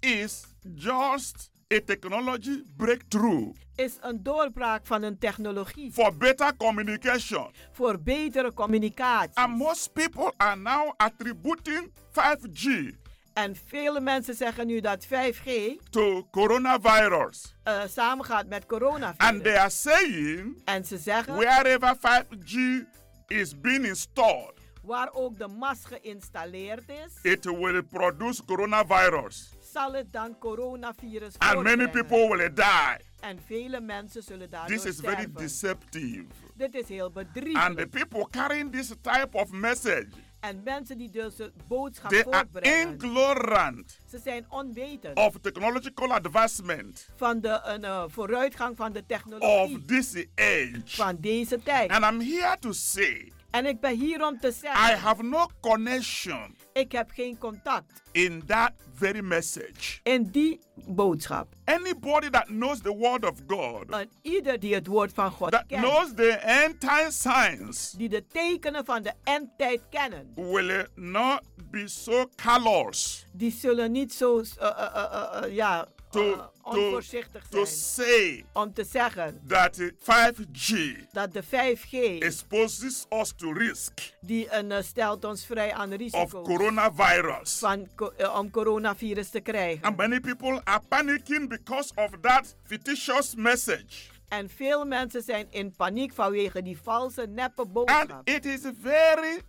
S7: is just a technology breakthrough
S8: is een doorbraak van een technologie
S7: for better communication.
S8: voor betere communicatie.
S7: And most people are now attributing 5G
S8: En vele mensen zeggen nu dat 5G
S7: to coronavirus.
S8: eh, samengaat met
S7: And they
S8: coronavirus.
S7: are saying
S8: En ze zeggen
S7: wherever 5G is being installed,
S8: waar ook de mast geïnstalleerd is,
S7: it will produce coronavirus.
S8: zal het dan coronavirus
S7: And many
S8: voortbrengen.
S7: people will die.
S8: En vele mensen zullen daardoor
S7: This is very
S8: sterven.
S7: deceptive.
S8: Dit is heel
S7: And the
S8: bedriegelijk.
S7: people carrying this type of message,
S8: En mensen die deze boodschap
S7: they are
S8: voortbrengen,
S7: ignorant
S8: ze zijn onwetend
S7: of technological advancement
S8: van de een, eh, vooruitgang van de technologie
S7: of this age.
S8: van deze tijd.
S7: And I'm here to say,
S8: En ik ben hier om te
S7: I
S8: zeggen,
S7: have no connection
S8: ik heb geen contact
S7: in that very message.
S8: in die boodschap.
S7: Anybody that knows the word of God,
S8: En ieder die het woord van God
S7: that
S8: kent,
S7: knows the end time signs,
S8: die de tekenen van de endtijd kennen,
S7: will not be so callous
S8: die zullen niet zo eh, eh, eh, eh, eh, ja, eh,
S7: to, to,
S8: onvoorzichtig
S7: to
S8: zijn
S7: say
S8: om te zeggen
S7: that 5G
S8: dat de 5G
S7: exposes us to risk
S8: die een, eh, stelt ons vrij aan
S7: of
S8: risico
S7: coronavirus.
S8: van, co- eh, om coronavirus te krijgen.
S7: And many people are panicking because of that fictitious message.
S8: En veel mensen zijn in paniek vanwege die valse, neppe
S7: And
S8: boodschap.
S7: it is very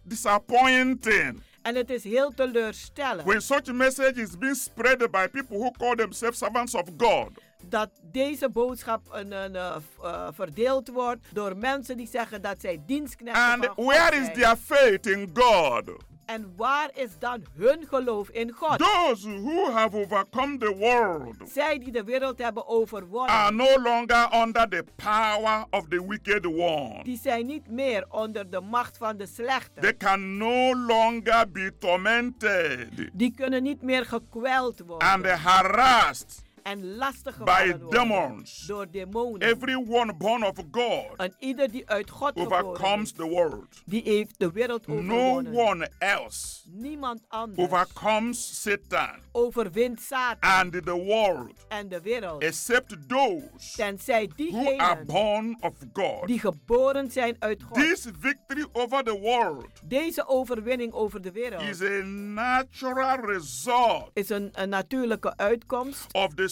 S7: disappointing
S8: En het is heel teleurstellend
S7: when such message is being spread by people who call themselves servants of God.
S8: dat deze boodschap een, een, eh, v- eh, verdeeld wordt door mensen die zeggen dat zij dienstknechten
S7: And
S8: van God
S7: where is
S8: zijn.
S7: their faith in God?
S8: En waar is dan hun geloof in God?
S7: Those who have overcome the world
S8: Zij die de wereld hebben overwonnen,
S7: are no longer under the power of the wicked one.
S8: die zijn niet meer onder de macht van de slechte.
S7: They can no longer be tormented
S8: Die kunnen niet meer gekweld
S7: and
S8: worden
S7: harassed
S8: en lastig
S7: by
S8: worden
S7: demons.
S8: door demonen.
S7: Everyone born of God
S8: en ieder die uit God geboren is,
S7: overcomes the world.
S8: die heeft de wereld
S7: No
S8: overwonnen.
S7: one else
S8: Niemand anders
S7: overcomes Satan
S8: overwint Satan
S7: and the world
S8: en de wereld,
S7: except those
S8: tenzij
S7: who are
S8: diegenen
S7: born of God.
S8: die geboren zijn uit God.
S7: This victory over the world
S8: Deze overwinning over de wereld
S7: is a natural result
S8: is een, een natuurlijke uitkomst
S7: of the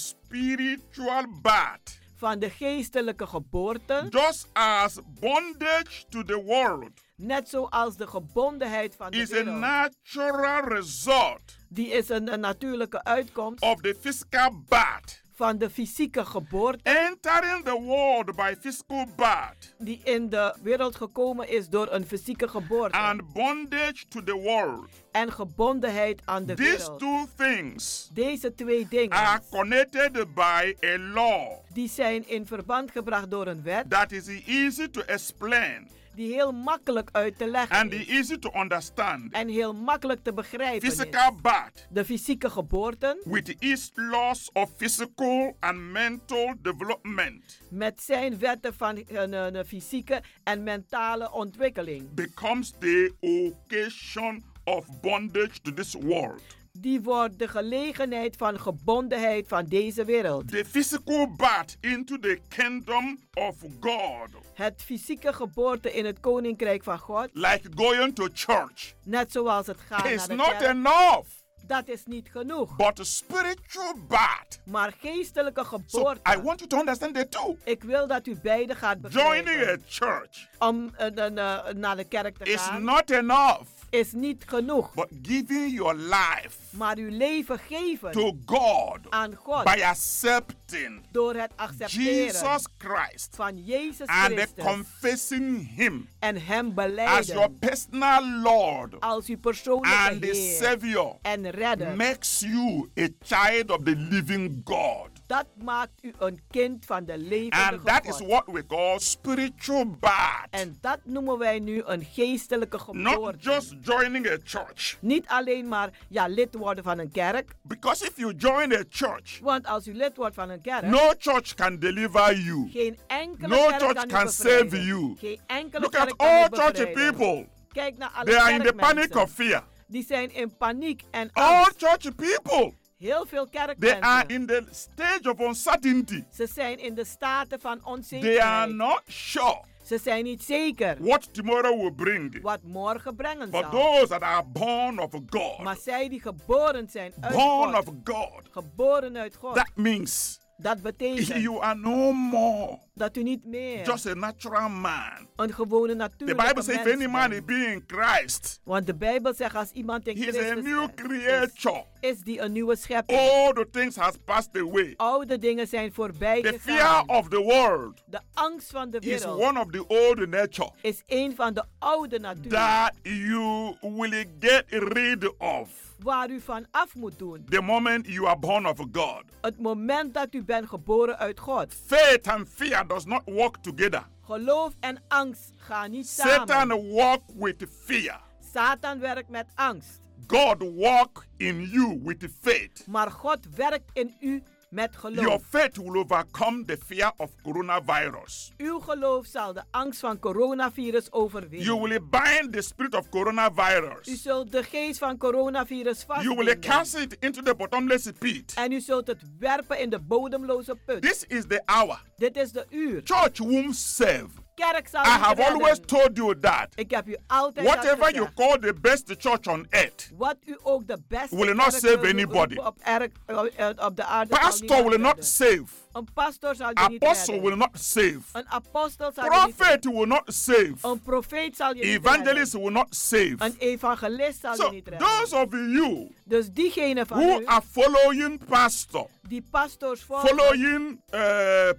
S7: spiritual birth.
S8: van de geestelijke geboorte,
S7: Just as bondage to the world
S8: net zoals de gebondenheid van de
S7: is a
S8: wereld.
S7: natural result
S8: Die is een, een natuurlijke uitkomst
S7: of the physical birth.
S8: van de fysieke geboorte
S7: Entering the world by physical birth
S8: die in de wereld gekomen is door een fysieke geboorte
S7: and bondage to the world.
S8: en gebondenheid aan de
S7: These
S8: wereld.
S7: two things
S8: Deze twee
S7: are
S8: dingen
S7: connected by a law
S8: die zijn in verband gebracht door een wet
S7: that is easy to explain
S8: die heel makkelijk uit te leggen
S7: and
S8: is
S7: easy to understand.
S8: en heel makkelijk te begrijpen is.
S7: Physical birth
S8: De fysieke geboorten
S7: with its laws of physical and mental development
S8: met zijn wetten van eh, een, een- een fysieke en mentale ontwikkeling.
S7: becomes the occasion of bondage to this world.
S8: die wordt de gelegenheid van gebondenheid van deze wereld.
S7: The physical birth into the kingdom of God,
S8: Het fysieke geboorte in het koninkrijk van God,
S7: like going to church,
S8: net zoals het gaat
S7: is
S8: naar de
S7: not
S8: kerk,
S7: enough.
S8: dat is niet genoeg.
S7: But spiritual birth,
S8: Maar geestelijke
S7: so
S8: geboorte,
S7: I want you to understand the two.
S8: ik wil dat u beide gaat
S7: Joining
S8: begrijpen.
S7: a church
S8: Om eh, eh, eh, naar de kerk te
S7: is
S8: gaan,
S7: not enough.
S8: is niet genoeg.
S7: But giving your life
S8: Maar uw leven geven
S7: to God
S8: aan God
S7: by accepting
S8: door het accepteren
S7: Jesus Christ
S8: van Jezus
S7: and
S8: Christus
S7: confessing Him
S8: en hem
S7: as your
S8: beleiden
S7: personal Lord
S8: als uw persoonlijke
S7: and the
S8: Heer
S7: Savior
S8: en redder.
S7: makes you a child of the living God.
S8: Dat maakt u een kind van de levende
S7: And that is
S8: God.
S7: what we call spiritual birth.
S8: En dat noemen wij nu een geestelijke
S7: Not
S8: geboorte.
S7: just joining a church.
S8: Niet alleen maar ja, lid worden van een kerk.
S7: Because if you join a church,
S8: Want als u lid wordt van een kerk,
S7: no church can deliver you.
S8: geen enkele
S7: No
S8: kerk
S7: church
S8: kan u
S7: can
S8: bevrijden.
S7: save you.
S8: Geen enkele
S7: Look
S8: kerk
S7: at
S8: kan u
S7: all church
S8: bevrijden.
S7: people.
S8: Kijk naar alle
S7: They are in the
S8: kerkmensen.
S7: panic of fear.
S8: Die zijn in paniek en
S7: All
S8: angst.
S7: church people,
S8: Heel veel
S7: they
S8: kerkmensen.
S7: are in the stage of uncertainty.
S8: Ze zijn in de staten van
S7: They are
S8: onzekerheid.
S7: not sure
S8: Ze zijn niet zeker
S7: what tomorrow will bring.
S8: wat morgen brengen
S7: But
S8: zal.
S7: those that are born of God,
S8: Maar zij die geboren zijn uit
S7: born
S8: God,
S7: of God,
S8: geboren uit God,
S7: that means
S8: dat betekent
S7: you are no more
S8: dat u niet meer
S7: just a natural man.
S8: een gewone
S7: The
S8: natuurlijke
S7: Bible says, if
S8: mens
S7: any man
S8: bent.
S7: be in Christ,
S8: Want de Bijbel zegt als iemand in
S7: he is a
S8: Christus
S7: new
S8: bent,
S7: creature.
S8: is die een nieuwe schepping.
S7: All the things has passed away.
S8: Oude dingen zijn voorbij
S7: The fear
S8: gegaan.
S7: of the world
S8: De angst van de
S7: is
S8: wereld
S7: one of the old nature
S8: is een van de oude natuur
S7: that you will get rid of
S8: waar u van af moet doen.
S7: the moment you are born of God.
S8: Het moment dat u bent geboren uit God.
S7: Faith and fear does not work together.
S8: Geloof en angst gaan niet samen.
S7: Satan walk with fear.
S8: Satan werkt met angst,
S7: God walk in you with faith.
S8: maar God werkt in u met
S7: Your
S8: geloof.
S7: faith will overcome the fear of coronavirus.
S8: Uw geloof zal de angst van coronavirus
S7: You
S8: overwinnen.
S7: will bind the spirit of
S8: U
S7: coronavirus.
S8: zult de geest van coronavirus
S7: You will
S8: vastbinden.
S7: cast it into the bottomless pit.
S8: En u zult het werpen in de bodemloze put.
S7: This is the hour.
S8: Dit is de uur.
S7: Church won't save.
S8: Kerk zal
S7: I
S8: u
S7: have
S8: redden.
S7: always told you that
S8: Ik heb u altijd dat
S7: whatever you
S8: gezegd.
S7: call the best church on earth,
S8: Wat u ook de beste
S7: Will not
S8: kerk
S7: save
S8: wil roepen
S7: anybody.
S8: Op, erg- eh, eh, op de aarde zal
S7: pastor
S8: niemand
S7: will not
S8: redden.
S7: save,
S8: Een pastor zal je niet
S7: apostle
S8: redden.
S7: will not save,
S8: Een apostel zal je niet redden.
S7: prophet will not save,
S8: Een profeet zal je niet redden.
S7: evangelist will not save.
S8: Een evangelist zal je
S7: So
S8: niet redden.
S7: those of you
S8: dus diegenen van
S7: who
S8: u
S7: are following pastor,
S8: die pastors volgen,
S7: following uh,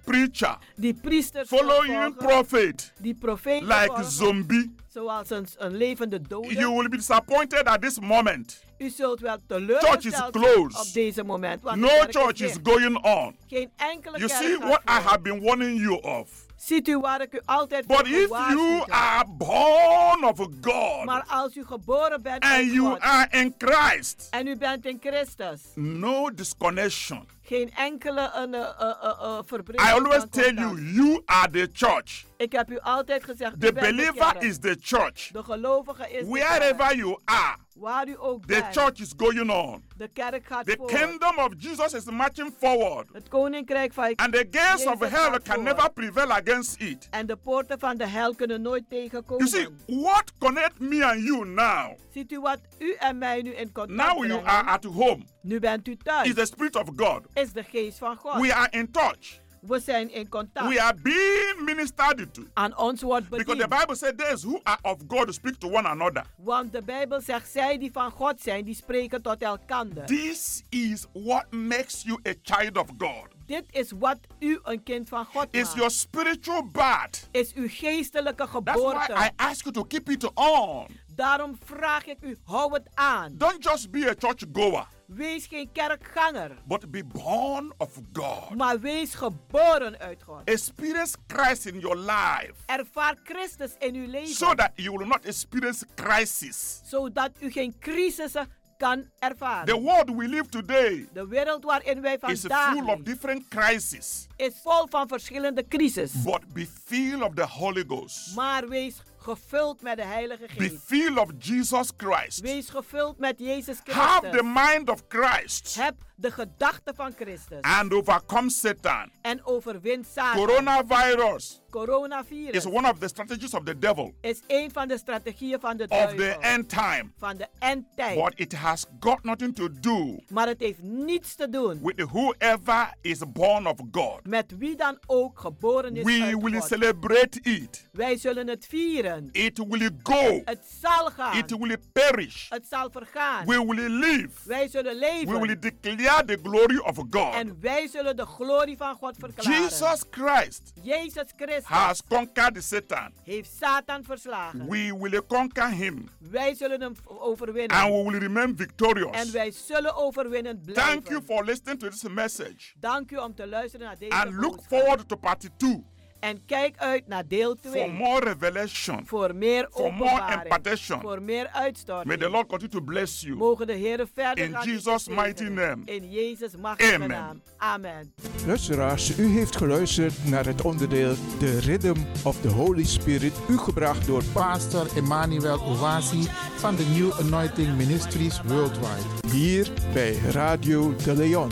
S7: preacher,
S8: die priesters
S7: following
S8: volgen,
S7: prophet
S8: die profeten
S7: like
S8: volgen,
S7: zombie,
S8: zoals een, een levende dode.
S7: you will be disappointed at this moment.
S8: U zult wel
S7: Church is
S8: teleurgesteld zijn
S7: closed.
S8: op deze moment. Want de
S7: No
S8: kerk
S7: church is
S8: dicht.
S7: going on.
S8: Geen enkele
S7: You
S8: kerk
S7: see
S8: gaat
S7: what I
S8: voor.
S7: have been warning you of.
S8: Ziet u waar ik u altijd voor
S7: But if you
S8: gewaarschuwd heb.
S7: are born of God
S8: Maar als u geboren bent
S7: and
S8: uit
S7: you
S8: God
S7: are in Christ,
S8: en u bent in Christus,
S7: no disconnection.
S8: geen enkele een, eh, eh, eh, eh, verbreking
S7: I always
S8: van
S7: tell you,
S8: contact.
S7: you are the church.
S8: Ik heb u altijd gezegd, u
S7: The
S8: bent de
S7: believer
S8: kerk.
S7: is the church.
S8: De gelovige is de kerk.
S7: Wherever you are,
S8: Waar u ook
S7: the
S8: bent,
S7: church is going on.
S8: de kerk gaat
S7: The
S8: voort.
S7: kingdom of Jesus is marching forward,
S8: Het koninkrijk van
S7: and the gates of
S8: Jezus
S7: hell
S8: gaat
S7: can
S8: voort.
S7: never prevail against it.
S8: En de poorten van de hel kunnen nooit
S7: You
S8: tegenkomen.
S7: see, what connect me and you now?
S8: Ziet u wat u en mij nu in contact
S7: Now you
S8: brengen?
S7: are at home.
S8: Nu bent u thuis.
S7: Is the spirit of God.
S8: Is de geest van God.
S7: We are in touch.
S8: We zijn in contact.
S7: We are being ministered to.
S8: Aan ons wordt
S7: Because the
S8: bediend.
S7: Bible said those who are of God speak to one another.
S8: Want de Bijbel zegt, zij die van God zijn, die spreken tot elkander.
S7: This is what makes you a child of God.
S8: Dit is wat u een kind van God
S7: It's
S8: maakt.
S7: your spiritual birth.
S8: Is uw geestelijke
S7: That's why
S8: geboorte.
S7: I ask you to keep it on.
S8: Daarom vraag ik u, hou het aan.
S7: Don't just be a church goer,
S8: Wees geen kerkganger,
S7: but be born of God.
S8: maar wees geboren uit God.
S7: Mm. Experience Christ in your life
S8: Ervaar Christus in uw leven,
S7: so that you will not experience crisis.
S8: zodat u geen crisissen kan
S7: The
S8: ervaren.
S7: world we live today
S8: De wereld waarin wij
S7: is
S8: vandaag
S7: full of
S8: leven,
S7: different crises,
S8: is vol van verschillende crisis.
S7: but be filled of the Holy Ghost.
S8: Maar wees Gevuld met de Heilige
S4: Be
S8: Geest.
S4: filled of Jesus Christ.
S8: Wees gevuld met Jezus
S4: Have the
S8: Christus.
S4: mind of Christ
S8: Heb de gedachten van Christus.
S4: and overcome Satan.
S8: En overwin Satan.
S4: Coronavirus
S8: Coronavirus
S4: is one of the strategies of the devil
S8: is een van de strategieën van de
S4: of
S8: duivel.
S4: the end time.
S8: Van de endtijd.
S4: But it has got nothing to do
S8: maar het heeft niets te doen
S4: with whoever is born of God.
S8: met wie dan ook geboren is
S4: We
S8: uit
S4: will
S8: God.
S4: celebrate it.
S8: Wij zullen het vieren.
S4: It will go.
S8: Het zal gaan.
S4: It will perish.
S8: het zal vergaan.
S4: We will live.
S8: wij zullen
S4: We
S8: leven.
S4: will declare the glory of God.
S8: en wij zullen de glorie van God verklaren.
S4: Jesus Christ
S8: Jezus Christus
S4: has conquered Satan.
S8: heeft Satan verslagen.
S4: We will conquer him
S8: wij zullen hem overwinnen.
S4: and we will remain
S8: en
S4: victorious.
S8: wij zullen overwinnend blijven.
S4: Thank you for listening to this message
S8: Dank u om te luisteren naar deze
S4: and look
S8: boodschap.
S4: forward to part two
S8: En kijk uit naar deel 2.
S4: for more revelation,
S8: voor meer
S4: for more
S8: openbaring.
S4: impartation.
S8: Voor meer
S4: May
S8: uitstorting.
S4: the Lord continue to bless you.
S8: Mogen de Heer verder
S4: In
S8: gaan u
S4: Jesus'
S8: zegenen.
S4: mighty name.
S8: In Jezus machtige
S4: Amen.
S8: naam. Amen.
S14: Luisteraars, u heeft geluisterd naar het onderdeel The Rhythm of the Holy Spirit, u gebracht door
S1: Pastor Emmanuel Owasi van de New Anointing Ministries Worldwide.
S14: hier bij Radio de Leon.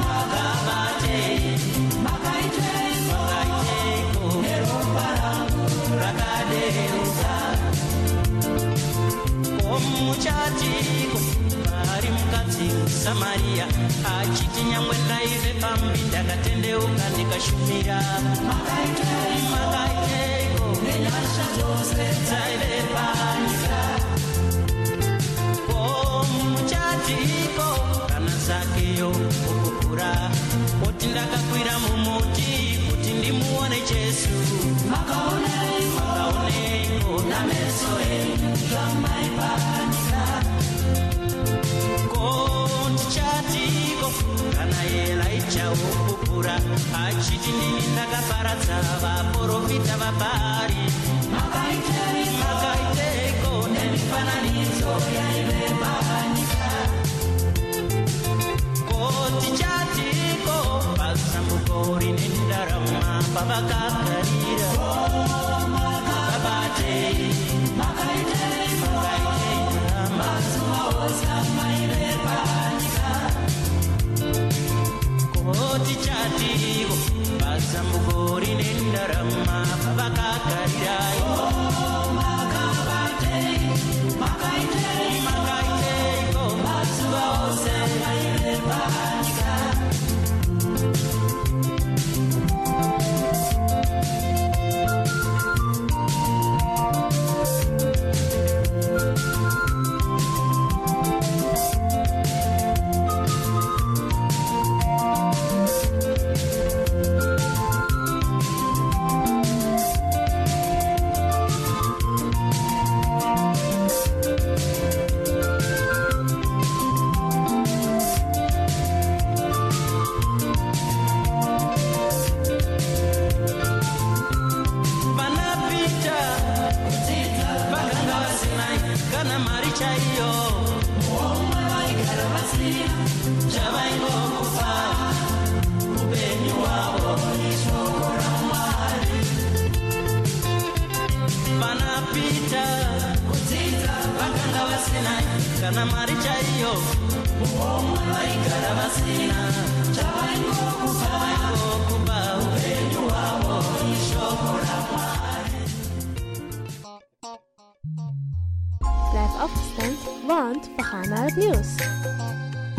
S7: makabatei makaiteiko neromba rangu rakadeuka komuchatiko vari mukadzi musamariya achiti nyangwe ndaive pambi ndakatendeuka ndikashumira makaiteiko nenyasha dzose dzaive panyika komuchatiko kana zakeyo okukura oti ndakakwira mumuti kuti ndimuone jesu makaoneiko nameso enyu zvamaipanika kotichatiko kana yelaichawo kukura achiti ndini ndakaparadza vaprofita vabhari makaiteiko nemifananidzo yaive panyika kotichatiko pasambuko rine ndarama pavakagarira vabatei vakaiteita mazuva ose amaive panyika kotichatiko pasambuko rine ndarama pavakagarira makaiteiko mazuva ose amaive panyika vanapita vakanga vasina kana mari chaiyo chavaingokufa upenyu hwavo ishoko ramwari vanapita vakanga vasina kana mari chaiyo vaigara vasina chavaingokufa upenyu hwavo ishoko ramwari
S15: Blijf afgestemd, want we gaan naar het nieuws.